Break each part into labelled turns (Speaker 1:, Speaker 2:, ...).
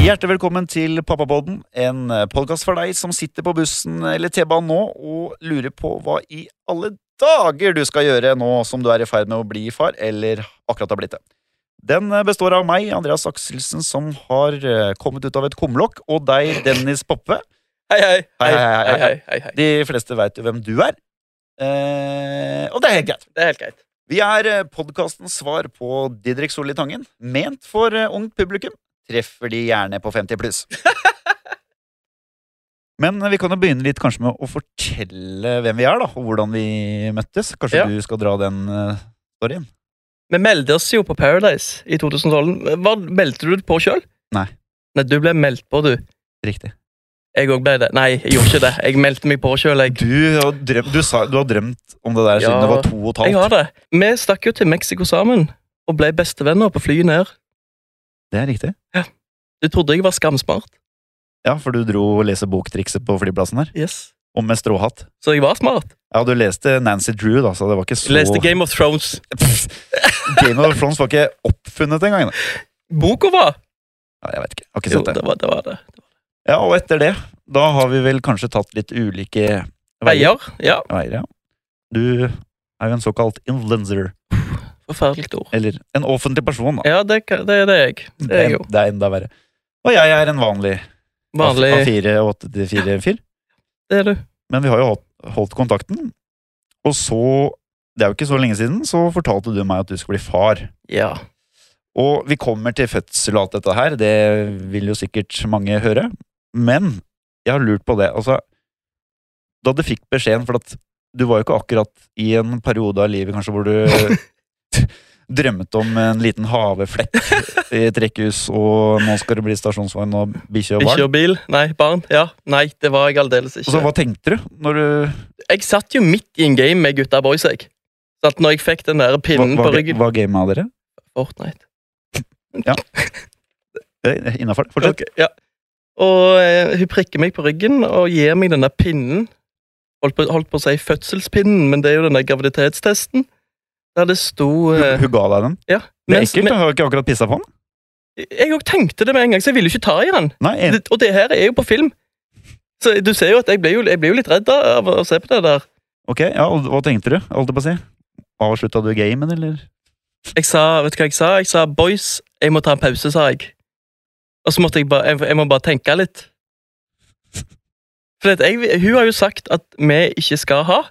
Speaker 1: Hjertelig velkommen til Pappapodden, en podkast for deg som sitter på bussen eller T-banen nå og lurer på hva i alle dager du skal gjøre nå som du er i ferd med å bli far, eller akkurat har blitt det. Den eh, består av meg, Andreas Akselsen, som har eh, kommet ut av et kumlokk, og deg, Dennis Poppe.
Speaker 2: Hei, hei.
Speaker 1: Hei, hei, hei,
Speaker 2: hei, hei, hei.
Speaker 1: De fleste veit jo hvem du er. Eh, og det er helt greit.
Speaker 2: Det er helt greit.
Speaker 1: Vi er eh, podkastens svar på Didrik Solli Tangen, ment for eh, ungt publikum. Treffer de gjerne på 50 pluss. Men eh, vi kan jo begynne litt kanskje med å fortelle hvem vi er, da, og hvordan vi møttes. Kanskje
Speaker 2: Ja.
Speaker 1: du skal dra den eh, storyen?
Speaker 2: Vi meldte oss jo på Paradise i 2012. Hva meldte du det på sjøl?
Speaker 1: Nei.
Speaker 2: Nei, du ble meldt på, du.
Speaker 1: Riktig.
Speaker 2: Jeg òg ble det. Nei, jeg gjorde ikke det. Jeg meldte meg på sjøl, jeg.
Speaker 1: Du har, drømt, du, sa, du har drømt om det der siden
Speaker 2: Ja,
Speaker 1: du var to og et
Speaker 2: Jeg
Speaker 1: halvt.
Speaker 2: har det. Vi stakk jo til Mexico sammen og ble bestevenner på flyet ned.
Speaker 1: Det er riktig.
Speaker 2: Du trodde jeg var skamsmart.
Speaker 1: Ja, for du dro og leste boktrikset på flyplassen her,
Speaker 2: Yes.
Speaker 1: og med stråhatt.
Speaker 2: Så jeg var smart.
Speaker 1: Ja, du leste Nancy Drew, da, så det var ikke så
Speaker 2: Jeg leste Game of Thrones.
Speaker 1: Pff, Game of Thrones var ikke oppfunnet engang. da.
Speaker 2: Boka var
Speaker 1: Ja, jeg vet ikke. Jeg har ikke
Speaker 2: Jo,
Speaker 1: sett det.
Speaker 2: det var det. Var det.
Speaker 1: Ja, og etter det, da har vi vel kanskje tatt litt ulike veier.
Speaker 2: Veier. Ja.
Speaker 1: Veier, ja. Du er jo en såkalt influencer,
Speaker 2: Forferdelig ord.
Speaker 1: eller en offentlig person, da.
Speaker 2: Ja, det, kan- det, det er jeg. Det er jeg jo.
Speaker 1: en- det er enda verre. Og jeg er en vanlig
Speaker 2: Vanlig.
Speaker 1: A4-8-4-fyr,
Speaker 2: Det er du.
Speaker 1: men vi har jo holdt, holdt kontakten. Og så, det er jo ikke så lenge siden, så fortalte du meg at du skulle bli far.
Speaker 2: Ja.
Speaker 1: Og vi kommer til fødsel og alt dette her, det vil jo sikkert mange høre. Men jeg har lurt på det. Altså, da du fikk beskjeden, for at du var jo ikke akkurat i en periode av livet kanskje hvor du drømmet om en liten haveflekk i et rekkehus, og nå skal du bli stasjonsvogn og bikkje og
Speaker 2: Ikke
Speaker 1: barn.
Speaker 2: og bil? Nei, barn. Ja. Nei, det var jeg aldeles
Speaker 1: Og så
Speaker 2: ikke.
Speaker 1: hva tenkte du når du
Speaker 2: Jeg satt jo midt i en game med gutta boys, jeg. Sånn at når jeg fikk den der
Speaker 1: Hva,
Speaker 2: pinnen
Speaker 1: hva,
Speaker 2: på ryggen
Speaker 1: hva gama dere?
Speaker 2: Fortnite.
Speaker 1: Innafor? Eh, Fortsett.
Speaker 2: Ok, ja. Og eh, hun prikker meg på ryggen og gir meg denne pinnen. Holdt på, holdt på å si fødselspinnen, men det er jo denne graviditetstesten. Der det sto
Speaker 1: Hun,
Speaker 2: eh,
Speaker 1: hun ga deg den?
Speaker 2: Ja.
Speaker 1: Det er
Speaker 2: mens-
Speaker 1: ekkelt, du har jo ikke akkurat pissa på den.
Speaker 2: men- jeg òg tenkte det med en gang, så jeg ville jo ikke ta i den.
Speaker 1: Nei, en,
Speaker 2: Det, og det her er jo på film. Så du ser jo at jeg ble jo, jeg ble jo litt redd av å se på det der.
Speaker 1: ok, ja, og hva tenkte du? Holdt jeg på å si. Avslutta du gamen, eller?
Speaker 2: Jeg sa, vet du hva jeg sa? Jeg sa, boys, jeg må ta en pause, sa jeg. Og så måtte jeg bare, jeg, jeg må bare tenke litt. For at jeg, hun har jo sagt at vi ikke skal ha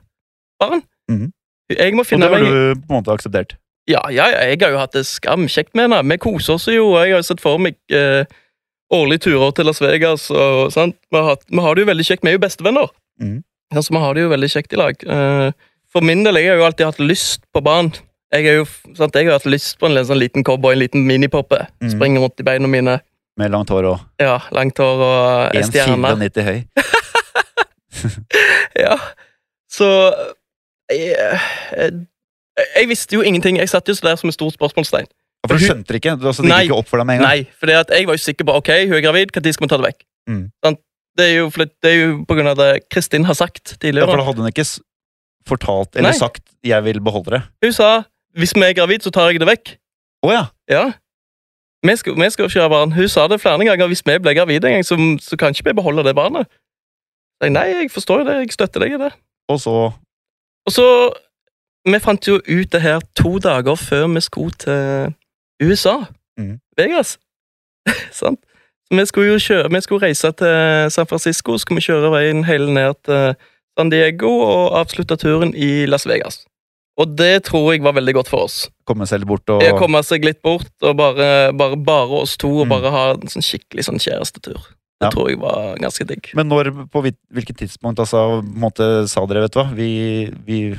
Speaker 2: barn.
Speaker 1: Mhm.
Speaker 2: Jeg må
Speaker 1: Og
Speaker 2: finne
Speaker 1: det har
Speaker 2: meg...
Speaker 1: du på en måte akseptert.
Speaker 2: Ja, ja, ja, jeg har jo hatt det skamkjekt med henne. Vi koser oss jo, og jeg har jo sett for meg eh, årlige turer til Las Vegas. Og, sant? Vi, har, hatt- vi har det jo veldig kjekt, vi er jo bestevenner.
Speaker 1: Mhm.
Speaker 2: Ja, så vi har det jo veldig kjekt i lag. Eh, for min del, jeg har jo alltid hatt lyst på barn. Jeg, er jo, f- sant? jeg har hatt lyst på en liten sånn liten cowboy, en liten minipoppe.
Speaker 1: Mhm.
Speaker 2: Springer rundt i beina mine.
Speaker 1: Med langt hår og
Speaker 2: Ja, Langt hår og eh, stjerner.
Speaker 1: 1,94 høy.
Speaker 2: Ja, så jeg, jeg, jeg visste jo ingenting. Jeg satt jo så der som et stort spørsmålstegn.
Speaker 1: For du skjønte det ikke? Du, altså, det
Speaker 2: Nei.
Speaker 1: gikk ikke opp for deg med en gang?
Speaker 2: Nei, for at jeg var jo sikker på ok, hun er gravid, når skal vi ta det vekk?
Speaker 1: Mm.
Speaker 2: Sant? Det, er jo, fordi- det er jo på grunn av det Kristin har sagt
Speaker 1: Ja, for
Speaker 2: tidligere.
Speaker 1: da hadde hun ikke s- fortalt eller
Speaker 2: Nei.
Speaker 1: sagt 'jeg vil beholde det'.
Speaker 2: Hun sa hvis vi er gravid, så tar jeg det vekk.
Speaker 1: Å ja!
Speaker 2: Ja. Vi skal, vi skal ikke ha barn. Hun sa det flere ganger. Hvis vi blir gravide en gang, så, så kan ikke vi beholde det barnet. Så Jeg, nei, jeg forstår jo det. Jeg støtter deg i det.
Speaker 1: Og så
Speaker 2: Og så Vi fant jo ut det her to dager før vi skulle til USA.
Speaker 1: Mhm.
Speaker 2: Vegas. Sant? Så vi skulle jo kjøre, vi skulle reise til San Francisco, så skulle vi kjøre veien hele ned til San Diego og avslutte turen i Las Vegas. Og det tror jeg var veldig godt for oss.
Speaker 1: komme selv bort og
Speaker 2: Å komme seg litt bort og bare, bare, bare oss to, og
Speaker 1: Mhm.
Speaker 2: bare ha en sånn skikkelig sånn kjærestetur. Det
Speaker 1: Ja.
Speaker 2: tror jeg var ganske digg.
Speaker 1: Men når, på hvil- hvilket tidspunkt altså, på en måte, sa dere 'vet du hva, vi, vi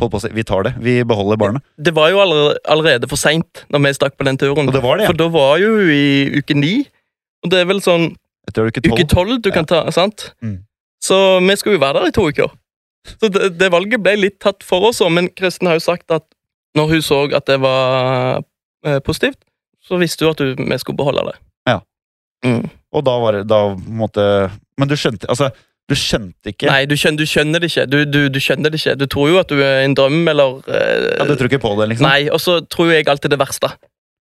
Speaker 1: holdt på å si, vi tar det, vi beholder barnet'?
Speaker 2: Det var jo allerede, allerede for seint når vi stakk på den turen.
Speaker 1: Og det var det,
Speaker 2: For
Speaker 1: ja.
Speaker 2: da var jo hun i uke ni, og det er vel sånn
Speaker 1: Etter uke
Speaker 2: uke
Speaker 1: tolv.
Speaker 2: tolv du kan ta, sant?
Speaker 1: Mm.
Speaker 2: Så vi skulle jo være der i to uker. Så det, det valget ble litt tatt for oss, også, men Kristin har jo sagt at når hun så at det var eh, positivt, så visste hun at hun, vi skulle beholde det.
Speaker 1: Ja.
Speaker 2: Mm.
Speaker 1: Og da var det da på en måte Men du skjønte altså, du skjønte ikke
Speaker 2: Nei, du skjønner, du skjønner det ikke. Du, du, du skjønner det ikke. Du tror jo at du er i en drøm, eller eh,
Speaker 1: ja, Du tror ikke på det, liksom?
Speaker 2: Nei, og så tror jeg alltid det verste.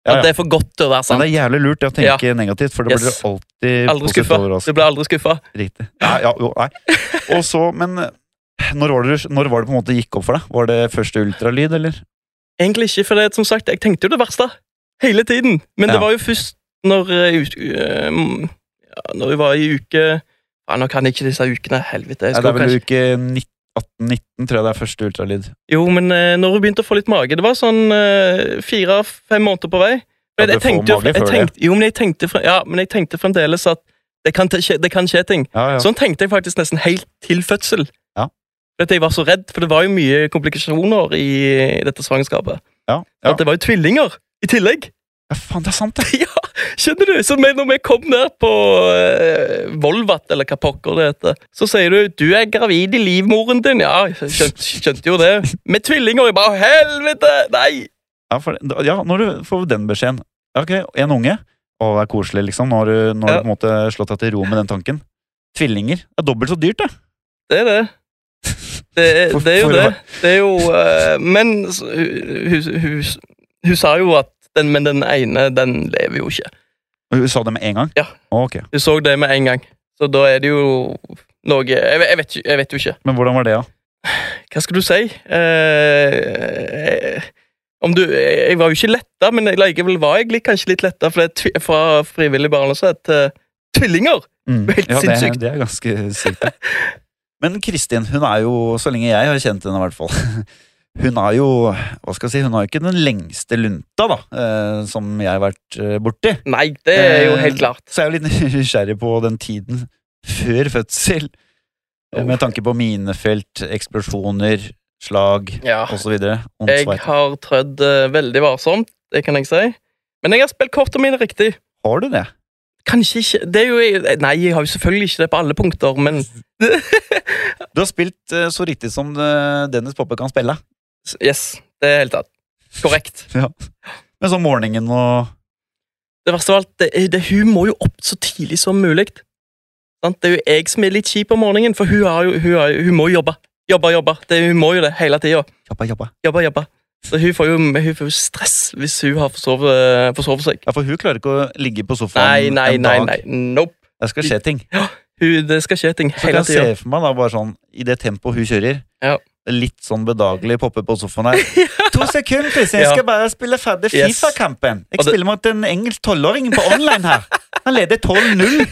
Speaker 1: Ja, ja.
Speaker 2: At det er for godt til å være
Speaker 1: Men
Speaker 2: sant.
Speaker 1: det er jævlig lurt det å tenke negativt, for da blir
Speaker 2: Yes.
Speaker 1: du alltid
Speaker 2: Aldri
Speaker 1: positivt
Speaker 2: skuffa. Du
Speaker 1: overrasket.
Speaker 2: blir aldri skuffa.
Speaker 1: Riktig. Nei, ja, jo, nei. Og så, men når var, det, når var det på en måte gikk opp for deg? Var det første ultralyd, eller?
Speaker 2: Egentlig ikke, for det, som sagt, jeg tenkte jo det verste hele tiden. Men
Speaker 1: Ja.
Speaker 2: det var jo først når eh, ut- eh, mm, ja, Når vi var i uke ja, Nå kan jeg ikke disse ukene, helvete.
Speaker 1: Nei,
Speaker 2: Jeg
Speaker 1: det
Speaker 2: skal
Speaker 1: er vel
Speaker 2: kanskje,
Speaker 1: uke 18-19, tror jeg det er første ultralyd.
Speaker 2: jo, men eh, når hun begynte å få litt mage Det var sånn eh, fire-fem måneder på vei.
Speaker 1: Ja,
Speaker 2: Men
Speaker 1: du
Speaker 2: jeg
Speaker 1: får
Speaker 2: tenkte jo,
Speaker 1: mage
Speaker 2: jeg
Speaker 1: før det.
Speaker 2: tenkte, jo, men jeg tenkte, fre- ja, men jeg tenkte fremdeles at det kan, te- skje, det kan skje ting.
Speaker 1: Ja, ja.
Speaker 2: Sånn tenkte jeg faktisk nesten helt til fødsel.
Speaker 1: Ja.
Speaker 2: For at jeg var så redd, for det var jo mye komplikasjoner i dette svangerskapet.
Speaker 1: Ja, ja.
Speaker 2: At det var jo tvillinger i tillegg.
Speaker 1: ja, faen, det er sant, det!
Speaker 2: ja, skjønner du? Så men når vi kom ned på eh, Volvat, eller hva pokker det heter, så sier du 'du er gravid i livmoren din'. Ja, jeg skjønte, skjønte jo det. Med tvillinger. Jeg bare 'helvete'! Nei!
Speaker 1: Ja, for, ja, når du får den beskjeden Ok, en unge Å, det er koselig liksom Nå har du, nå har
Speaker 2: Ja.
Speaker 1: du på en måte slått deg til ro med den tanken Tvillinger, det er dobbelt så dyrt det
Speaker 2: Det er det. Det er,
Speaker 1: For-
Speaker 2: det er jo
Speaker 1: for å-
Speaker 2: det. det er jo, eh, men s- hun, hun, hun, hun sa jo at den, men den ene, den lever jo ikke.
Speaker 1: Og Hun sa det med en gang?
Speaker 2: Ja.
Speaker 1: Å, ok.
Speaker 2: Du så det med en gang. Så da er det jo noe Jeg, ve- jeg, vet, ikke- jeg vet jo ikke.
Speaker 1: Men hvordan var det da?
Speaker 2: Hva skal du si? Eh, eh, om du, jeg jeg var jo ikke letta, men jeg- likevel var jeg litt- kanskje litt letta for det er tvi- fra frivillig barnløshet til tvillinger.
Speaker 1: Mm.
Speaker 2: Helt
Speaker 1: ja, det,
Speaker 2: sinnssykt.
Speaker 1: det er ganske sykt det. Men Kristin, hun er jo Så lenge jeg har kjent henne i hvert fall Hun er jo, hva skal jeg si Hun har jo ikke den lengste lunta da eh, Som jeg har vært eh, borti
Speaker 2: Nei, det er jo
Speaker 1: Eh,
Speaker 2: helt klart.
Speaker 1: Så jeg er jo litt nysgjerrig på den tiden før fødsel, eh, med tanke på minefelt, eksplosjoner, slag
Speaker 2: Ja.
Speaker 1: osv.
Speaker 2: Jeg har trødd eh, veldig varsomt, det kan jeg si. Men jeg har spilt kortene mine riktig.
Speaker 1: Har du det?
Speaker 2: Kanskje ikke det er jo, Nei, jeg har jo selvfølgelig ikke det på alle punkter, men
Speaker 1: Du har spilt eh, så riktig som eh, Dennis Poppe kan spille.
Speaker 2: yes, det er helt tatt. Korrekt.
Speaker 1: Men sånn morgenen og
Speaker 2: Det verste av alt, det, er- det, hun må jo opp så tidlig som mulig. Sant? Det er jo jeg som er litt kjip om morgenen, for hun, har jo, hun, har, jo- hun må jobbe. Jobbe, jobbe. Det, hun må jo det hele tida.
Speaker 1: Jabba, jabba.
Speaker 2: Jobbe, jobbe. Så hun får jo hun får jo stress hvis hun har forsovet, eh, forsovet seg.
Speaker 1: Ja, For hun klarer ikke å ligge på
Speaker 2: Nei,
Speaker 1: sofaen
Speaker 2: nei,
Speaker 1: Sånn, en
Speaker 2: nei.
Speaker 1: dag.
Speaker 2: nei. Nope.
Speaker 1: Det skal skje ting.
Speaker 2: Hun, det skal skje ting
Speaker 1: Så kan
Speaker 2: hele
Speaker 1: jeg se
Speaker 2: tida.
Speaker 1: for meg da, bare sånn, i det tempoet hun kjører
Speaker 2: Ja.
Speaker 1: Litt sånn bedagelig poppe på sofaen her. To sekunder, Kristin! Jeg
Speaker 2: Ja.
Speaker 1: skal bare spille ferdig
Speaker 2: Yes.
Speaker 1: Fifa-kampen. Jeg
Speaker 2: Og det-
Speaker 1: spiller mot en engelsk tolvåring på online her. Han leder 12-0.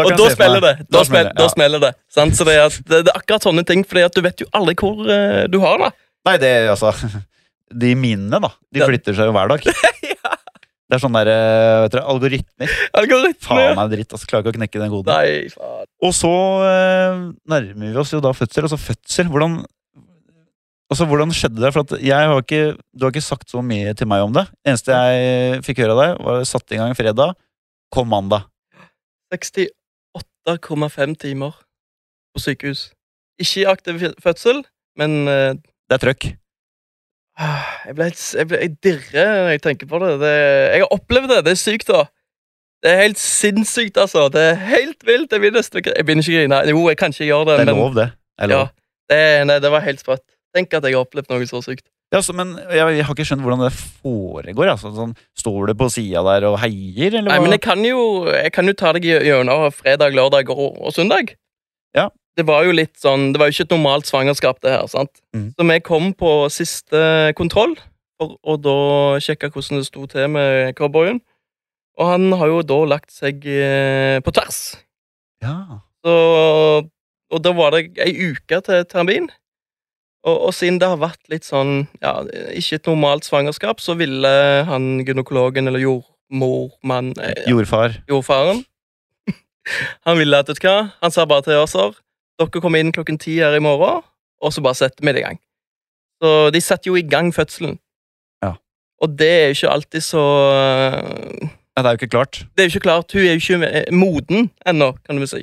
Speaker 2: Og da spiller det! Da, spiller, da
Speaker 1: ja.
Speaker 2: smeller det. Sant? Så det er, at, det det er akkurat sånne ting, for du vet jo aldri hvor eh, du har det.
Speaker 1: Nei, det er altså De minnene, da. De
Speaker 2: Ja.
Speaker 1: flytter seg jo hver dag. Det er sånn der, eh, vet dere, algoritmer. Faen
Speaker 2: Algoritme.
Speaker 1: meg dritt. Altså, klarer ikke å knekke den koden.
Speaker 2: Nei, faen.
Speaker 1: Og så eh, nærmer vi oss jo da fødsel. Altså fødsel, hvordan Altså, Hvordan skjedde det? For at jeg har ikke, Du har ikke sagt så mye til meg om det. eneste jeg fikk høre av deg, var at satte i gang fredag, kom mandag.
Speaker 2: 68,5 timer på sykehus. Ikke i aktiv fødsel, men eh,
Speaker 1: Det er trøkk.
Speaker 2: ah, jeg, ble, helt- jeg, ble, jeg dirrer når jeg tenker på det. det. Jeg har opplevd det. Det er sykt, da. Det er helt sinnssykt, altså. Det er helt vilt. Jeg begynner nesten å gri- jeg begynner ikke å grine. Jo, jeg kan ikke gjøre det,
Speaker 1: Det er
Speaker 2: men
Speaker 1: lov, det. Det er lov.
Speaker 2: ja, det, nei, det var helt sprøtt. Tenk at jeg har opplevd noe så sykt.
Speaker 1: Ja, så, men jeg, jeg har ikke skjønt hvordan det foregår. Altså, sånn, står du på sida der og heier, eller
Speaker 2: Nei,
Speaker 1: hva?
Speaker 2: men jeg kan jo, jeg kan jo ta deg gj- gjennom fredag, lørdag og, og søndag.
Speaker 1: Ja.
Speaker 2: Det var jo litt sånn, det var jo ikke et normalt svangerskap, det her. sant?
Speaker 1: Mhm.
Speaker 2: Så vi kom på siste kontroll, for å da sjekke hvordan det sto til med cowboyen. Og han har jo da lagt seg eh, på tvers.
Speaker 1: Ja.
Speaker 2: Så, og da var det ei uke til termin. Og, og siden det har vært litt sånn, ja, ikke et normalt svangerskap, så ville han gynekologen eller jordmormann eh,
Speaker 1: Jordfar.
Speaker 2: jordfaren. Han ville at, vet du hva, han sa bare til oss her, dere kommer inn klokken ti her i morgen, og så bare setter vi det i gang. Så de setter jo i gang fødselen.
Speaker 1: Ja.
Speaker 2: Og det er jo ikke alltid så eh,
Speaker 1: Nei, det er jo ikke klart.
Speaker 2: Det er jo ikke klart, hun er jo ikke eh, moden ennå, kan du si.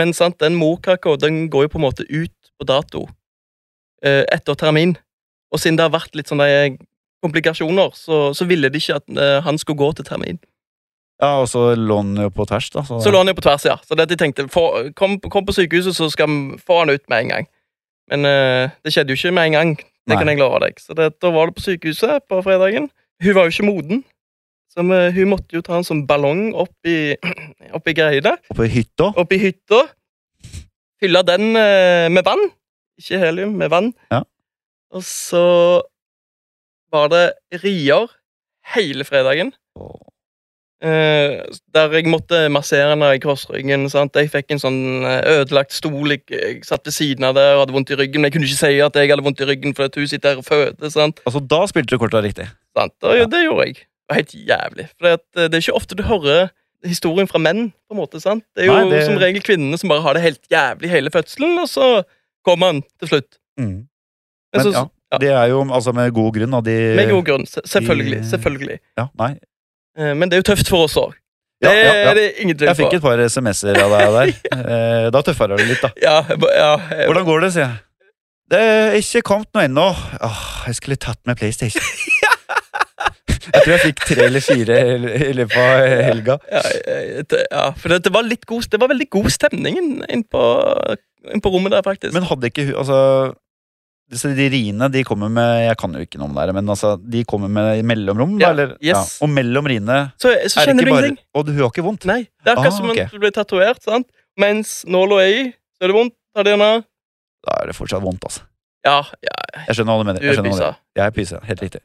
Speaker 2: Men sant, den morkaka, den går jo på en måte ut på dato eh, etter termin. Og siden det har vært litt sånne eh, komplikasjoner, så, så ville de ikke at eh, han skulle gå til termin.
Speaker 1: Ja, Og så lå den jo på tvers, da. Så,
Speaker 2: Så lå han jo på tvers, ja. Så det at de tenkte få, kom, kom på sykehuset, så skal vi få han ut med en gang. Men eh, det skjedde jo ikke med en gang.
Speaker 1: Nei.
Speaker 2: Det kan jeg love deg. Så det, da var det på sykehuset på fredagen. Hun var jo ikke moden, så vi, hun måtte jo ta en sånn ballong opp i, opp i greia.
Speaker 1: Oppe i hytta.
Speaker 2: Opp i hytta. Fylle den eh, med vann. Ikke helium, med vann.
Speaker 1: Ja.
Speaker 2: Og så var det rier hele fredagen. Eh, der jeg måtte massere henne i krossryggen. Sant? Jeg fikk en sånn eh, ødelagt stol. Jeg, jeg satt ved siden av der og hadde vondt i ryggen. Men jeg kunne ikke si at jeg hadde vondt i ryggen fordi at hun sitter her og føder. Sant?
Speaker 1: Altså, da spilte du korta riktig.
Speaker 2: Sant? Og jo, det gjorde jeg. Det var helt jævlig. For det er ikke ofte du hører historien fra menn. på en måte, sant? Det er jo
Speaker 1: Nei, det-
Speaker 2: som regel kvinnene som bare har det helt jævlig hele fødselen, og så kommer han til slutt.
Speaker 1: Mm.
Speaker 2: Men
Speaker 1: Men
Speaker 2: så,
Speaker 1: ja, det er jo altså, med god grunn. Da, de,
Speaker 2: Med god grunn. se- Selvfølgelig.
Speaker 1: de-
Speaker 2: selvfølgelig.
Speaker 1: ja, nei.
Speaker 2: Eh, Men det er jo tøft for oss òg.
Speaker 1: Ja, ja,
Speaker 2: Det er
Speaker 1: ja.
Speaker 2: det ingen tvil
Speaker 1: Jeg fikk
Speaker 2: på.
Speaker 1: et par SMS-er av deg der. Eh, da tøffer du deg litt, da.
Speaker 2: Ja, jeg ba- ja, jeg-
Speaker 1: Hvordan går det, sier jeg. Det er ikke kommet noe ennå. Åh, jeg skulle tatt med PlayStation. jeg tror jeg fikk tre eller fire i i løpet av helga.
Speaker 2: ja, jeg- det- ja, for det, det, var litt god, det var veldig god stemning inn, inn, på, inn på rommet der, faktisk.
Speaker 1: Men hadde ikke hun Altså, disse, de riene de kommer med Jeg kan jo ikke noe om det, her, men altså, de kommer med i mellomrom? da,
Speaker 2: Ja,
Speaker 1: eller?
Speaker 2: yes.
Speaker 1: Og mellom riene er
Speaker 2: så, så
Speaker 1: det
Speaker 2: kjenner
Speaker 1: ikke
Speaker 2: du
Speaker 1: bare
Speaker 2: ingenting.
Speaker 1: Og hun har ikke vondt?
Speaker 2: Nei, det er akkurat
Speaker 1: Ah,
Speaker 2: som om
Speaker 1: ok.
Speaker 2: du blir tatovert, sant? Mens nåla er i, så er det vondt. Ta det gjerne.
Speaker 1: Da er det fortsatt vondt, altså.
Speaker 2: Ja, ja,
Speaker 1: Jeg skjønner hva du mener.
Speaker 2: du er
Speaker 1: Jeg, skjønner hva du mener.
Speaker 2: pysa.
Speaker 1: jeg er pysa. Helt riktig.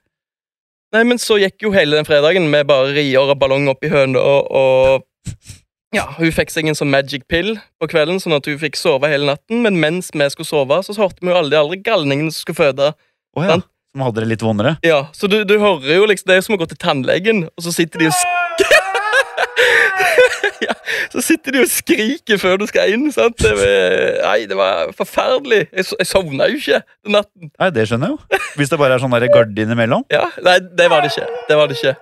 Speaker 2: Nei, men så gikk jo hele den fredagen med bare rier og ballong oppi høna, og, og ja, hun fikk seg en sånn magic pill på kvelden, sånn at hun fikk sove hele natten, men mens vi skulle sove, så hørte vi jo alle de andre galningene som skulle føde.
Speaker 1: Å ja.
Speaker 2: Sant.
Speaker 1: Som hadde det litt vondere?
Speaker 2: Ja, så du, du hører jo liksom, det er som å gå til tannlegen, og så sitter de og sk ja, så sitter de og skriker før du skal inn, sant? Det var, nei, det var forferdelig. Jeg, so- jeg sovna jo ikke den natten.
Speaker 1: Nei, det skjønner jeg jo. Hvis det bare er sånn der gardin imellom.
Speaker 2: Ja, nei, det var det ikke. Det var det ikke.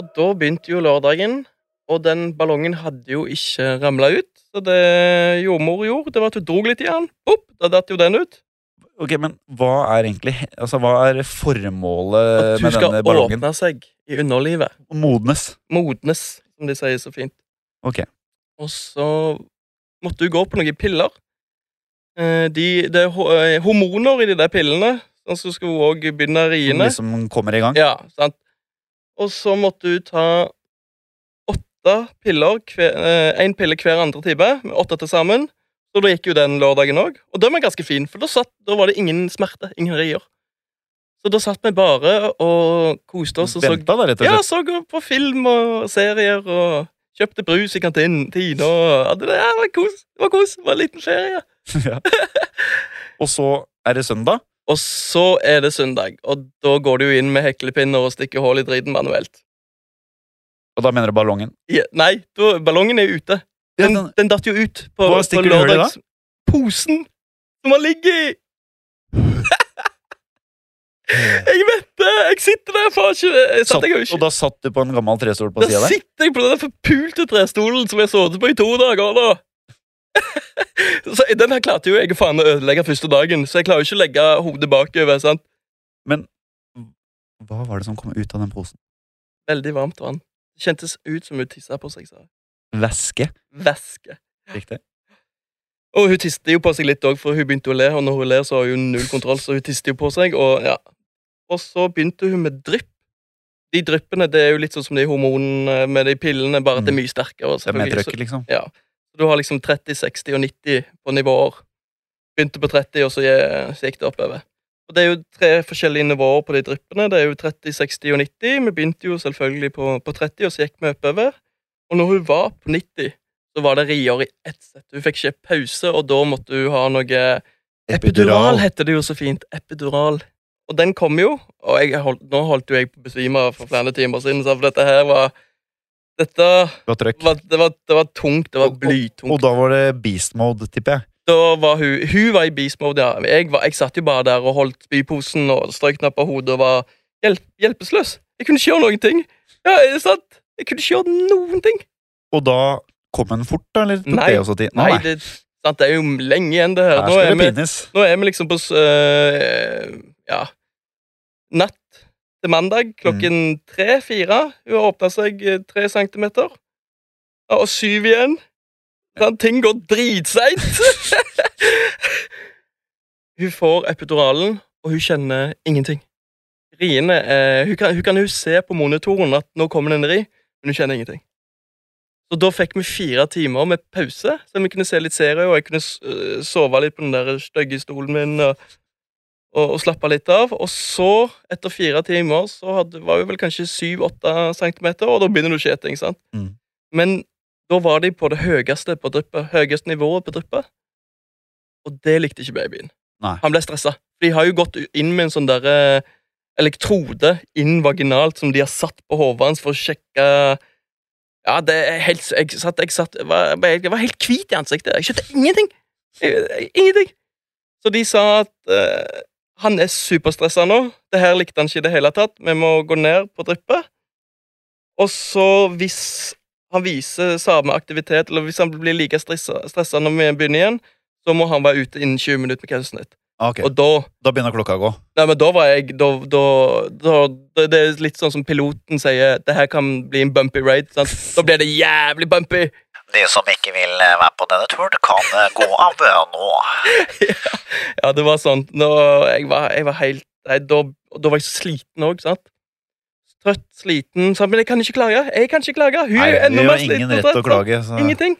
Speaker 2: Og da begynte jo lørdagen, og den ballongen hadde jo ikke ramla ut. Så det jordmor gjorde, det var at hun dro litt i den. Opp, da datt jo den ut.
Speaker 1: Ok, men hva er egentlig Altså, hva er formålet
Speaker 2: At hun
Speaker 1: med
Speaker 2: skal
Speaker 1: Eh, denne ballongen?
Speaker 2: åpne seg i underlivet.
Speaker 1: Modnes.
Speaker 2: Modnes, som de sier så fint.
Speaker 1: Ok.
Speaker 2: Og så måtte hun gå på noen piller. Eh, De, det er ho- eh, hormoner i de der pillene, sånn så skulle hun òg begynne å
Speaker 1: Som
Speaker 2: riene.
Speaker 1: liksom kommer i gang.
Speaker 2: Ja, sant. Og så måtte hun ta åtte piller, én pille hver andre time, med åtte til sammen. Så da gikk jo den lørdagen òg, og den var ganske fin, for da, satt, da var det ingen smerte, ingen rier. Så da satt vi bare og koste oss og så
Speaker 1: Venta, da, rett og
Speaker 2: ja,
Speaker 1: slett.
Speaker 2: så på film og serier og kjøpte brus i kantinen. Tina og hadde det. Ja, det var kos. Det var kos. Det var en liten ferie.
Speaker 1: Ja. Og så er det søndag.
Speaker 2: Og så er det søndag, og da går du jo inn med heklepinner og stikker hull i driten manuelt.
Speaker 1: Og da mener du ballongen.
Speaker 2: Ja, nei, da, ballongen er jo ute.
Speaker 1: Ja,
Speaker 2: Den,
Speaker 1: den,
Speaker 2: den datt jo ut på,
Speaker 1: Hva
Speaker 2: på
Speaker 1: stikker du hull i da?
Speaker 2: lørdags... Posen som han ligger i! Jeg vet det! Jeg sitter der, faen ikke jeg
Speaker 1: satt,
Speaker 2: satt, jeg jo ikke.
Speaker 1: og da satt du på en gammel trestol på
Speaker 2: Da
Speaker 1: sida der?
Speaker 2: sitter jeg på den der forpulte trestolen som jeg sovnet på i to dager nå. så Den her klarte jo jeg faen å ødelegge første dagen, så jeg klarer jo ikke å legge hodet bakover. sant?
Speaker 1: Hva var det som kom ut av den posen?
Speaker 2: Veldig varmt vann. Det kjentes ut som hun tissa på seg. sa
Speaker 1: Væske.
Speaker 2: Væske.
Speaker 1: Riktig.
Speaker 2: Og hun tiste jo på seg litt òg, for hun begynte å le, og når hun ler, så har hun null kontroll, så hun tiste jo på seg, og ja. Og så begynte hun med drypp. De dryppene det er jo litt sånn som de hormonene med de pillene, bare at det er mye sterkere.
Speaker 1: Mm. Det er med
Speaker 2: selvfølgelig, så-
Speaker 1: trøkket, liksom.
Speaker 2: Du har liksom 30, 60 og 90 på nivåer. Begynte på 30, og så gje- så gikk det oppover. Og Det er jo tre forskjellige nivåer på de dryppene. Det er jo 30, 60 og 90. Vi begynte jo selvfølgelig på, på 30, og så gikk vi oppover. Og når hun var på 90, så var det rier i ett sett. Hun fikk ikke pause, og da måtte hun ha noe Epidural heter det jo så fint. Epidural. Og den kom jo, og jeg holdt, nå holdt jo jeg på å besvime for flere timer siden, så for dette her var Dette
Speaker 1: Det var trøkk.
Speaker 2: var, det var, det var tungt. Det var
Speaker 1: Og- og-
Speaker 2: blytungt.
Speaker 1: Og da var det beast mode, tipper jeg.
Speaker 2: Da var hun Hun var i beast mode, ja. Jeg, var, jeg satt jo bare der og holdt spyposen og strøk den opp av hodet og var hjelp, hjelpeløs. Jeg kunne ikke gjøre noen ting. Ja, er det sant? Jeg kunne ikke gjøre noen ting.
Speaker 1: Og da kom den fort, da? Eller tok
Speaker 2: Nei.
Speaker 1: det også tid?
Speaker 2: Nei, det, sant, det er jo lenge igjen, det her.
Speaker 1: Her
Speaker 2: Nå
Speaker 1: skal
Speaker 2: er,
Speaker 1: det
Speaker 2: vi,
Speaker 1: pines.
Speaker 2: nå er vi liksom på s- øh, Ja. Natt til mandag klokken tre-fire. Hun har åpna seg eh, tre centimeter. Ja, og syv igjen. Sånn, ting går dritseint. hun får epiduralen, og hun kjenner ingenting. riene eh, hun, kan, hun kan jo se på monitoren at nå kommer det en ri, men hun kjenner ingenting. Så da fikk vi fire timer med pause, så vi kunne se litt serie, og jeg kunne s- øh, sove litt på den der stygge stolen min og, og, og slappe litt av. Og så, etter fire timer, så hadde, var hun vel kanskje syv-åtte centimeter, og da begynner du å skjete, ikke sant?
Speaker 1: Mm.
Speaker 2: Men da var de på det høyeste på dryppet, høyeste nivået på dryppet, og det likte ikke babyen.
Speaker 1: Nei.
Speaker 2: Han ble stressa. For de har jo gått inn med en sånn derre elektrode inn vaginalt som de har satt på hodet hans for å sjekke Ja, det er helt Jeg satt, jeg satt jeg var, jeg var helt hvit i ansiktet. Jeg skjønte ingenting! Jeg- jeg- Ingenting! Så de sa at eh, han er superstressa nå. Det her likte han ikke i det hele tatt. Vi må gå ned på dryppet. Og så, hvis han viser samme aktivitet, eller hvis han blir like stressa, stressa når vi begynner igjen, så må han være ute innen 20 minutter med keisersnitt.
Speaker 1: Ah, Ok,
Speaker 2: Og da
Speaker 1: Da begynner klokka å gå.
Speaker 2: Nei, men da var jeg da, da, da, det- Det er litt sånn som piloten sier Det her kan bli en bumpy ride sant? Da blir det jævlig bumpy
Speaker 3: De som ikke vil eh, være på denne turen, kan eh, gå av eh, nå.
Speaker 2: Ja, det var sånn Nå, jeg, var, jeg var helt nei, da, og da var jeg så sliten også, sant? Trøtt, sliten sant? Men jeg kan ikke klage Jeg kan ikke klage Hun
Speaker 1: Nei,
Speaker 2: er jo
Speaker 1: vi
Speaker 2: enda
Speaker 1: har
Speaker 2: mer sliten
Speaker 1: ingen
Speaker 2: og
Speaker 1: rett
Speaker 2: trøtt
Speaker 1: til å
Speaker 2: sant?
Speaker 1: klage. Så.
Speaker 2: Ingenting.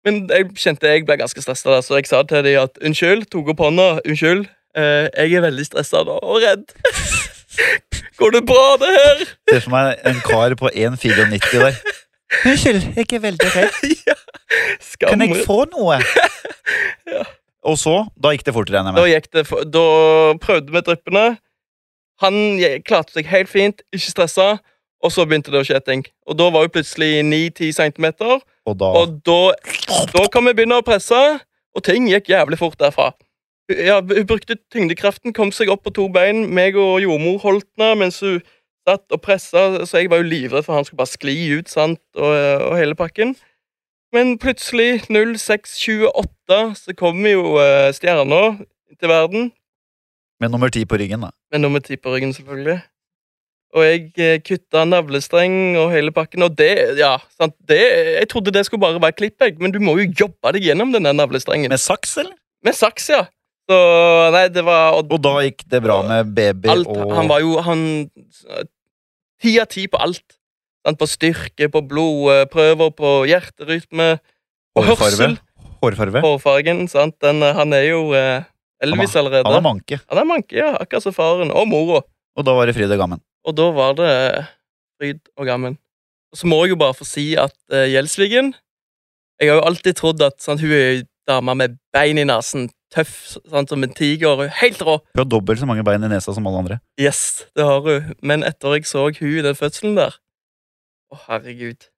Speaker 2: Men jeg kjente jeg ble ganske stressa, så jeg sa til dem at unnskyld, tok opp hånda. Unnskyld, eh, jeg er veldig stressa nå og redd. Går det bra, det her?
Speaker 1: Ser for meg en kar på 1,94 der. Unnskyld, jeg er veldig redd.
Speaker 2: ja. Skam.
Speaker 1: få noe? Og så, da gikk det fort, regner
Speaker 2: Da
Speaker 1: jeg med.
Speaker 2: gikk det for, Da prøvde vi dryppene. Han je- klarte seg helt fint, ikke stressa, og så begynte det å skje ting. Og da var hun plutselig 9-10 centimeter,
Speaker 1: Og da
Speaker 2: Og da, da kan vi begynne å presse, og ting gikk jævlig fort derfra. Hun- Ja, hun brukte tyngdekraften, kom seg opp på to bein. Meg og jordmor holdt henne mens hun satt og pressa, så jeg var jo livredd for han skulle bare skli ut, sant, og, og hele pakken. Men plutselig, 0628, så kom jo eh, stjerna til verden,
Speaker 1: med nummer ti på ryggen, da.
Speaker 2: med nummer ti på ryggen, selvfølgelig. Og jeg eh, kutta navlestreng og hele pakken, og det Ja, sant, det Jeg trodde det skulle bare være klipp, jeg, men du må jo jobbe deg gjennom den der navlestrengen.
Speaker 1: Med
Speaker 2: Med,
Speaker 1: saks, eller?
Speaker 2: saks, ja. Så Nei, det var Og
Speaker 1: Og da gikk det bra med baby
Speaker 2: alt
Speaker 1: og
Speaker 2: Han var jo Han Ti av ti på alt. Sant, på styrke, på blodprøver, på hjerterytme, på
Speaker 1: hårfarve.
Speaker 2: hørsel.
Speaker 1: hårfarve.
Speaker 2: Hårfargen, sant. Den, eh, han er jo eh, Elvis allerede.
Speaker 1: Han er manke.
Speaker 2: Han er manke, ja. Akkurat som faren. Og mora.
Speaker 1: Og da var det fryd og gammen.
Speaker 2: Og da var det eh, fryd og gammen. Og så må jeg jo bare få si at uh, Gjelsvigen Jeg har jo alltid trodd at sant, hun er ei dame med bein i nesen, tøff sant, som en tiger, hun er helt rå.
Speaker 1: Hun har dobbelt så mange bein i nesa som alle andre.
Speaker 2: Yes, det har hun. Men etter jeg så hun i den fødselen der Å, herregud.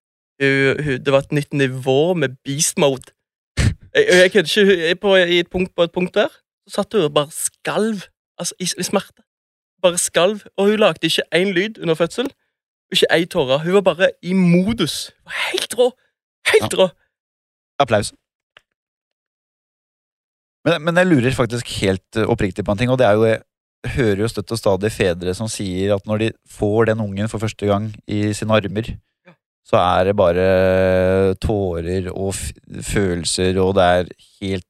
Speaker 2: Hun, hun, det var et nytt nivå med beast mode. Jeg, jeg kødder ikke. hun- jeg- På, i et punkt, på et punkt der så satt hun og bare skalv altså, i, i smerte. Bare skalv. Og hun lagde ikke én lyd under fødsel. Ikke ei tåre. Hun var bare i modus. Hun var Helt rå! Helt rå!
Speaker 1: Applaus. Men, men jeg lurer faktisk helt eh, oppriktig på en ting, og det er jo jeg hører jo støtt og stadig fedre som sier at når de får den ungen for første gang i sine armer, så er det bare tårer og f følelser, og det er helt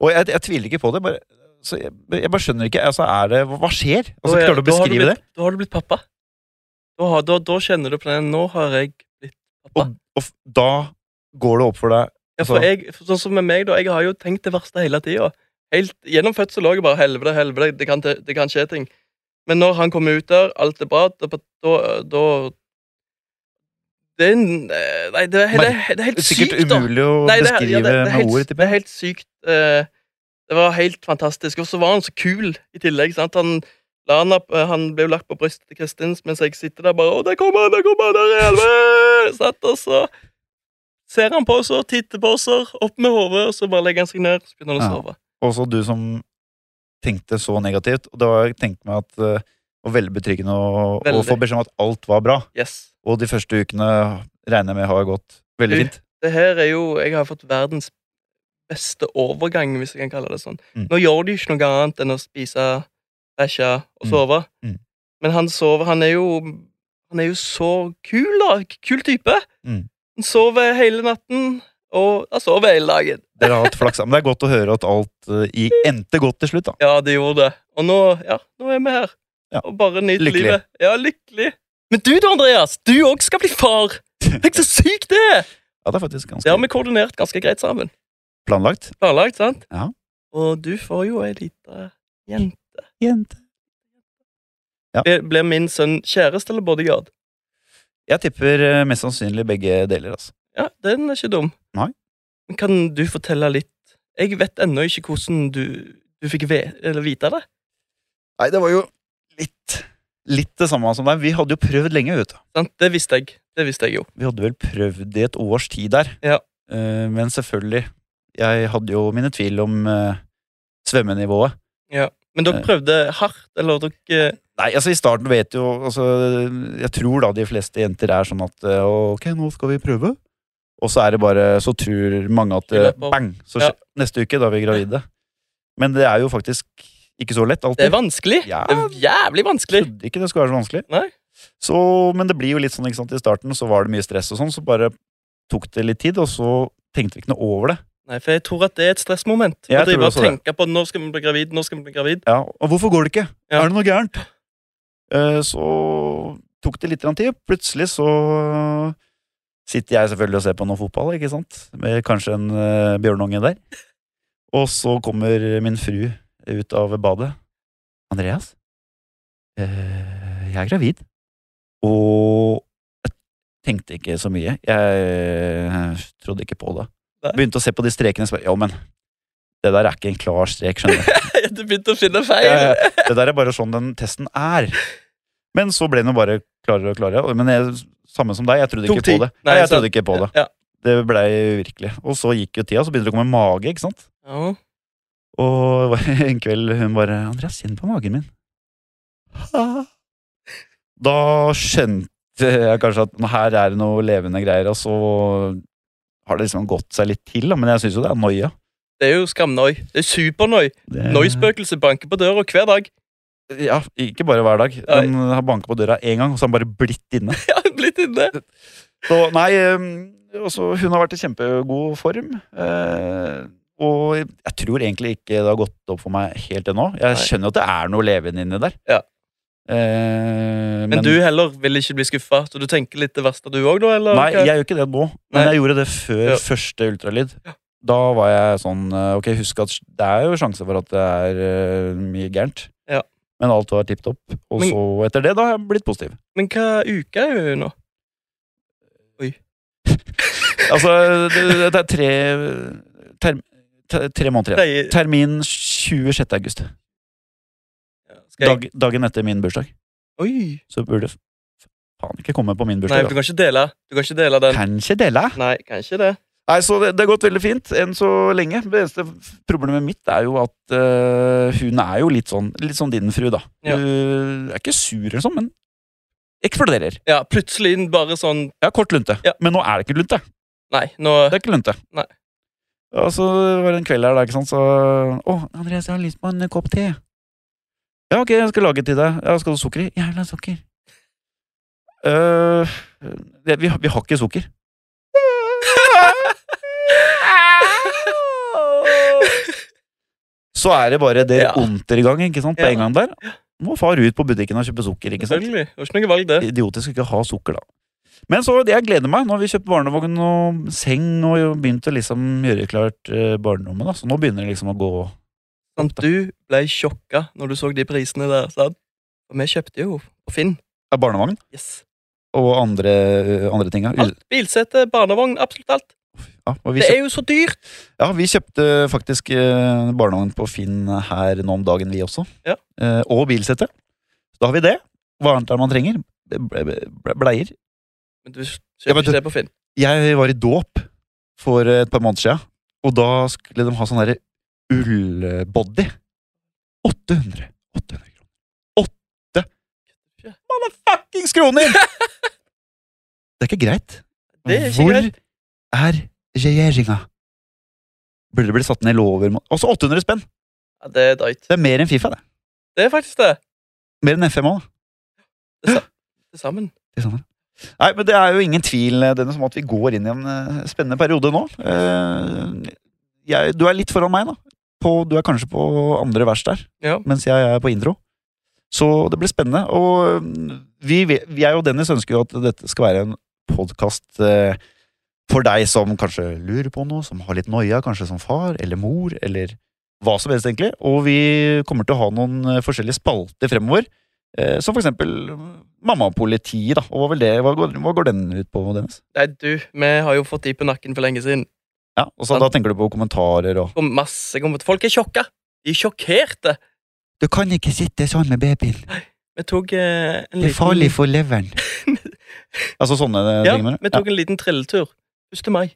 Speaker 1: Og jeg, jeg tviler ikke på det, bare, så jeg, jeg bare skjønner ikke. Altså, er det, hva- hva skjer? Altså,
Speaker 2: Da er-
Speaker 1: Klarer du å
Speaker 2: da har
Speaker 1: beskrive det?
Speaker 2: blitt, Da har du blitt pappa. Da, har, da, da kjenner du på den. Nå har jeg blitt pappa.
Speaker 1: Og, og f- da går det opp for deg
Speaker 2: Ja, for
Speaker 1: Altså-
Speaker 2: jeg, for sånn som med meg da, jeg har jo tenkt det verste hele tida. Gjennom fødsel òg bare helvete, helvete, det kan, det kan skje ting. Men når han kommer ut der, alt er bra, da da, da det er, en- eh, nei, det er, det er, det er helt
Speaker 1: Det er sikkert
Speaker 2: sykt, da.
Speaker 1: umulig å
Speaker 2: Nei, det er-
Speaker 1: beskrive
Speaker 2: ja, det- det er
Speaker 1: med
Speaker 2: helt-
Speaker 1: ord.
Speaker 2: Det er helt sykt. eh, Det var helt fantastisk. Og så var han så kul i tillegg. sant? Han, la han, opp- eh, han ble jo lagt på brystet til Kristins mens jeg sitter der bare 'Å, der kommer han! Der kommer han! Der er han!» Wee! sant? Og så ser han på oss og titter på oss, og opp med hodet, og så bare legger han seg ned og så begynner han å
Speaker 1: Ja.
Speaker 2: sove.
Speaker 1: også du som tenkte så negativt. Og det var, jeg tenkte meg at eh, var veldig betryggende å, å
Speaker 2: Veldig.
Speaker 1: få beskjed om at alt var bra.
Speaker 2: Yes.
Speaker 1: Og de første ukene regner jeg med har gått veldig
Speaker 2: Du-
Speaker 1: fint.
Speaker 2: Det her er jo Jeg har fått verdens beste overgang, hvis jeg kan kalle det sånn.
Speaker 1: Mm.
Speaker 2: Nå gjør de jo ikke noe annet enn å spise, bæsje og
Speaker 1: Mm.
Speaker 2: sove.
Speaker 1: Mm.
Speaker 2: Men han sover Han er jo Han er jo så kul, da. Kul type.
Speaker 1: Mm.
Speaker 2: Han sover hele natten, og han sover hele dagen.
Speaker 1: Dere har hatt flaks, men det er godt å høre at alt eh, i- endte godt til slutt. da.
Speaker 2: Ja, det gjorde det. Og nå, ja, nå er vi her.
Speaker 1: Ja.
Speaker 2: og bare nyte
Speaker 1: Lykkelig.
Speaker 2: livet. Ja, lykkelig. Men du da, Andreas, du òg skal bli far! Tenk så sykt det er!
Speaker 1: Ja, det er faktisk ganske
Speaker 2: Det har vi koordinert ganske greit sammen.
Speaker 1: planlagt.
Speaker 2: Planlagt, sant?
Speaker 1: Ja.
Speaker 2: Og du får jo ei lita jente.
Speaker 1: Jente.
Speaker 2: Blir- Blir min sønn kjæreste eller bodyguard?
Speaker 1: Jeg tipper eh, mest sannsynlig begge deler, altså.
Speaker 2: Ja, den er ikke dum.
Speaker 1: Nei.
Speaker 2: Men kan du fortelle litt Jeg vet ennå ikke hvordan du, du fikk ve eller vite det.
Speaker 1: Nei, det var jo litt Litt det samme som deg. Vi hadde jo prøvd lenge, vet du.
Speaker 2: Sant? Det visste jeg. Det visste jeg jo.
Speaker 1: Vi hadde vel prøvd i et års tid der.
Speaker 2: Ja.
Speaker 1: Eh, men selvfølgelig, jeg hadde jo mine tvil om eh, svømmenivået.
Speaker 2: Men dere
Speaker 1: Nei.
Speaker 2: prøvde hardt, eller dere eh,
Speaker 1: Nei, altså i starten vet jo altså, Jeg tror da de fleste jenter er sånn at eh, Ok, nå skal vi prøve. Og så er det bare Så tror mange at eh,
Speaker 2: I løpet av-
Speaker 1: bang! Så
Speaker 2: Ja.
Speaker 1: skje- neste uke, da er vi gravide. Men det er jo faktisk ikke så lett
Speaker 2: Det
Speaker 1: alltid.
Speaker 2: er vanskelig.
Speaker 1: Ja.
Speaker 2: Det er jævlig vanskelig.
Speaker 1: Trodde ikke det skulle være så vanskelig.
Speaker 2: Nei.
Speaker 1: Så, men det blir jo litt sånn, ikke sant, i starten så var det mye stress og sånn, så bare tok det litt tid, og så tenkte vi ikke noe over det.
Speaker 2: Nei, for jeg tror at det er et stressmoment.
Speaker 1: Jeg
Speaker 2: å drive
Speaker 1: tror
Speaker 2: og
Speaker 1: også det.
Speaker 2: tenke på når skal vi bli gravid, når skal vi bli gravid.
Speaker 1: Ja, og hvorfor går det ikke?
Speaker 2: Ja.
Speaker 1: Er det noe gærent? Eh, Så tok det litt grann tid. Plutselig så sitter jeg selvfølgelig og ser på noe fotball, ikke sant? Med kanskje en eh, bjørnunge der. Og så kommer min fru ut av badet. Andreas, eh, jeg er gravid. Og jeg tenkte ikke så mye. Jeg trodde ikke på det.
Speaker 2: Nei.
Speaker 1: Begynte å se på de strekene og så bare Ja, men det der er ikke en klar strek, skjønner du.
Speaker 2: Du begynte å finne
Speaker 1: Ja,
Speaker 2: feil.
Speaker 1: ja. Det der er bare sånn den testen er. Men så ble den jo bare klarere og klarere. Men jeg, samme som deg, jeg trodde
Speaker 2: Tok
Speaker 1: ikke
Speaker 2: tid.
Speaker 1: på det.
Speaker 2: Nei,
Speaker 1: Nei, jeg
Speaker 2: sant.
Speaker 1: trodde ikke på det.
Speaker 2: Ja.
Speaker 1: Det blei uvirkelig. Og så gikk jo tida, så begynte det å komme mage, ikke sant.
Speaker 2: Ja.
Speaker 1: Og en kveld hun bare 'Andreas, kjenn på magen min'. Da skjønte jeg kanskje at her er det noe levende greier, og så har det liksom gått seg litt til, da. Men jeg syns jo det er noia.
Speaker 2: Det er jo skamnoi. Det er supernoi.
Speaker 1: Det-
Speaker 2: Noi-spøkelset banker på døra hver dag.
Speaker 1: Ja, ikke bare hver dag.
Speaker 2: Nei.
Speaker 1: Den har banka på døra én gang, og så har den bare blitt inne.
Speaker 2: Ja, blitt inne.
Speaker 1: Så nei, eh, også, hun har vært i kjempegod form. Eh, og jeg tror egentlig ikke det har gått opp for meg helt ennå. Jeg
Speaker 2: Nei.
Speaker 1: skjønner jo at det er noe levende inni der.
Speaker 2: Ja.
Speaker 1: Eh,
Speaker 2: Men, du heller vil ikke bli skuffa, så du tenker litt det verste du òg, da? Eller?
Speaker 1: Nei,
Speaker 2: hva?
Speaker 1: jeg gjør ikke det nå. Men
Speaker 2: Nei.
Speaker 1: jeg gjorde det før
Speaker 2: Ja.
Speaker 1: første ultralyd. Da var jeg sånn eh, Ok, husk at det er jo sjanse for at det er eh, mye gærent.
Speaker 2: Ja.
Speaker 1: Men alt var tipp topp. Og
Speaker 2: Men-
Speaker 1: så, etter det, da har jeg blitt positiv.
Speaker 2: Men hva uke er hun nå?
Speaker 1: Altså, det, det er tre term, te- Tre måneder igjen.
Speaker 2: Tredje-
Speaker 1: Termin 26. august.
Speaker 2: Ja, skal jeg...
Speaker 1: Dag, dagen etter min bursdag.
Speaker 2: Oi!
Speaker 1: Så burde f- faen ikke komme på min
Speaker 2: Nei,
Speaker 1: bursdag.
Speaker 2: du
Speaker 1: da.
Speaker 2: kan ikke dele. Du kan ikke dele den.
Speaker 1: Kan ikke dele.
Speaker 2: Nei, kanskje det.
Speaker 1: Nei, så det, det har gått veldig fint enn så lenge. Det eneste f- problemet mitt er jo at øh, hun er jo litt sånn, litt sånn din fru, da.
Speaker 2: Ja.
Speaker 1: Hun er ikke sur eller sånn, men eksploderer.
Speaker 2: Ja, plutselig bare sånn
Speaker 1: Jeg har kort lunte,
Speaker 2: Ja.
Speaker 1: men nå er det ikke lunte.
Speaker 2: Nei, nå
Speaker 1: Det er ikke lunte.
Speaker 2: Nei.
Speaker 1: Og så var det en kveld her, da, ikke sant, så Å, Andreas, jeg har lyst på en kopp te. Ja, ok, jeg skal lage til deg. Ja, skal du ha sukker i? Jævla sukker. øh, det, vi, har- vi har ikke sukker. Så er det bare det
Speaker 2: Ja.
Speaker 1: onter i gang, ikke sant, på
Speaker 2: Ja.
Speaker 1: en gang der. Må far ut på butikken og kjøpe sukker, ikke sant.
Speaker 2: Selvfølgelig. Det var ikke noe valg, det.
Speaker 1: Idiotisk å ikke ha sukker, da. Men så det jeg gleder meg. Nå har vi kjøpt barnevogn og seng og jo begynt å liksom gjøre klart eh, barnerommet, da. Så nå begynner det liksom å gå
Speaker 2: Sant, du ble sjokka når du så de prisene der. Sant? Og vi kjøpte jo på Finn.
Speaker 1: Ja, barnevogn
Speaker 2: Yes.
Speaker 1: og andre, eh, andre ting. ja. Ull-
Speaker 2: Alt. Bilsete, barnevogn, absolutt alt.
Speaker 1: Ja, og vi,
Speaker 2: Det
Speaker 1: kjøpt,
Speaker 2: er jo så dyrt!
Speaker 1: ja, vi kjøpte faktisk eh, barnevogn på Finn her nå om dagen, vi også.
Speaker 2: Ja.
Speaker 1: Eh, og bilsette. Da har vi det. Hva annet er det man trenger? Ble- ble- ble- Bleier.
Speaker 2: Men du
Speaker 1: Ja,
Speaker 2: kjøper
Speaker 1: men
Speaker 2: ikke
Speaker 1: du-
Speaker 2: det på Finn.
Speaker 1: Jeg var i dåp for et par måneder siden, og da skulle de ha sånn derre ullbody. 800. 800 kroner. Åtte motherfuckings kroner! Det er ikke greit.
Speaker 2: Det er ikke
Speaker 1: Hvor
Speaker 2: greit.
Speaker 1: er regjeringa? Burde det bli satt ned lover mot- Også 800 spenn!
Speaker 2: Ja, det er drøyt.
Speaker 1: Det er mer enn Fifa, det.
Speaker 2: Det er faktisk det.
Speaker 1: Mer enn FM òg.
Speaker 2: Til sammen.
Speaker 1: Nei, men det er jo ingen tvil eh, Dennis, om at vi går inn i en eh, spennende periode nå. Eh, Jeg, du er litt foran meg, da. På, du er kanskje på andre vers der,
Speaker 2: Ja.
Speaker 1: mens jeg er på intro. Så det blir spennende. Og mm, vi, vet- jeg og Dennis ønsker jo at dette skal være en podkast eh, for deg som kanskje lurer på noe, som har litt noia, kanskje som far eller mor, eller hva som helst, egentlig. Og vi kommer til å ha noen eh, forskjellige spalter fremover. Eh, som for eksempel mm, Mammapolitiet, da. Og hva, vil det, hva, går, hva går den ut på, Dennis?
Speaker 2: Nei, du, vi har jo fått de på nakken for lenge siden.
Speaker 1: Ja, og så
Speaker 2: Sant.
Speaker 1: Da tenker du på kommentarer og
Speaker 2: Og masse kommet. Folk er sjokka. De er sjokkerte.
Speaker 1: Du kan ikke sitte sånn med babyen.
Speaker 2: Vi tok eh, en liten
Speaker 1: for leveren. altså sånne
Speaker 2: Ja,
Speaker 1: ting? mener du?
Speaker 2: vi tok en liten trilletur. 1. mai.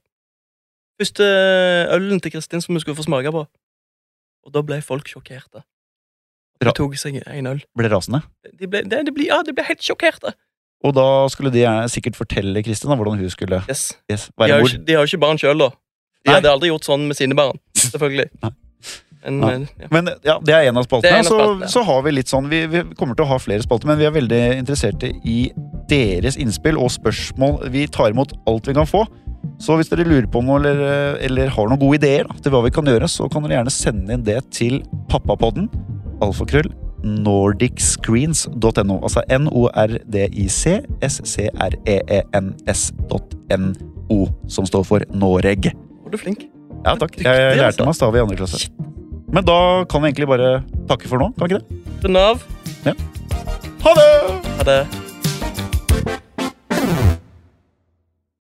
Speaker 2: Første eh, ølen til Kristin som vi skulle få smake på. Og da ble folk sjokkerte.
Speaker 1: Bra.
Speaker 2: De tok seg en øl.
Speaker 1: Ja, ble rasende.
Speaker 2: De ble, de, de ble, ja, de ble helt sjokkerte.
Speaker 1: Og da skulle de gjerne sikkert fortelle Kristin da, hvordan hun skulle
Speaker 2: Yes.
Speaker 1: yes,
Speaker 2: De
Speaker 1: være
Speaker 2: har, jo
Speaker 1: mor.
Speaker 2: ikke, de har jo ikke barn sjøl, da. De
Speaker 1: Nei.
Speaker 2: hadde aldri gjort sånn med sine barn. Selvfølgelig.
Speaker 1: Nei.
Speaker 2: Men,
Speaker 1: Nei.
Speaker 2: eh, ja.
Speaker 1: Men ja, det er en av
Speaker 2: Det
Speaker 1: spaltene.
Speaker 2: er en av
Speaker 1: så,
Speaker 2: spaltene, ja.
Speaker 1: så har vi litt sånn vi, vi kommer til å ha flere spalter, men vi er veldig interesserte i deres innspill og spørsmål. Vi tar imot alt vi kan få. Så hvis dere lurer på noe eller, eller har noen gode ideer da, til hva vi kan gjøre, så kan dere gjerne sende inn det til pappapodden. Alfakrøll nordicscreens.no. Altså E N-O-R-D-I-C-S-C-R-E-E-N-S.no, som står for Noreg.
Speaker 2: Var du flink?
Speaker 1: Ja takk.
Speaker 2: Dyktig,
Speaker 1: Jeg lærte
Speaker 2: altså.
Speaker 1: meg stav i andre klasse. Men da kan vi egentlig bare takke for nå, kan vi ikke det?
Speaker 2: Til Nav.
Speaker 1: Ha det!
Speaker 2: Ha det.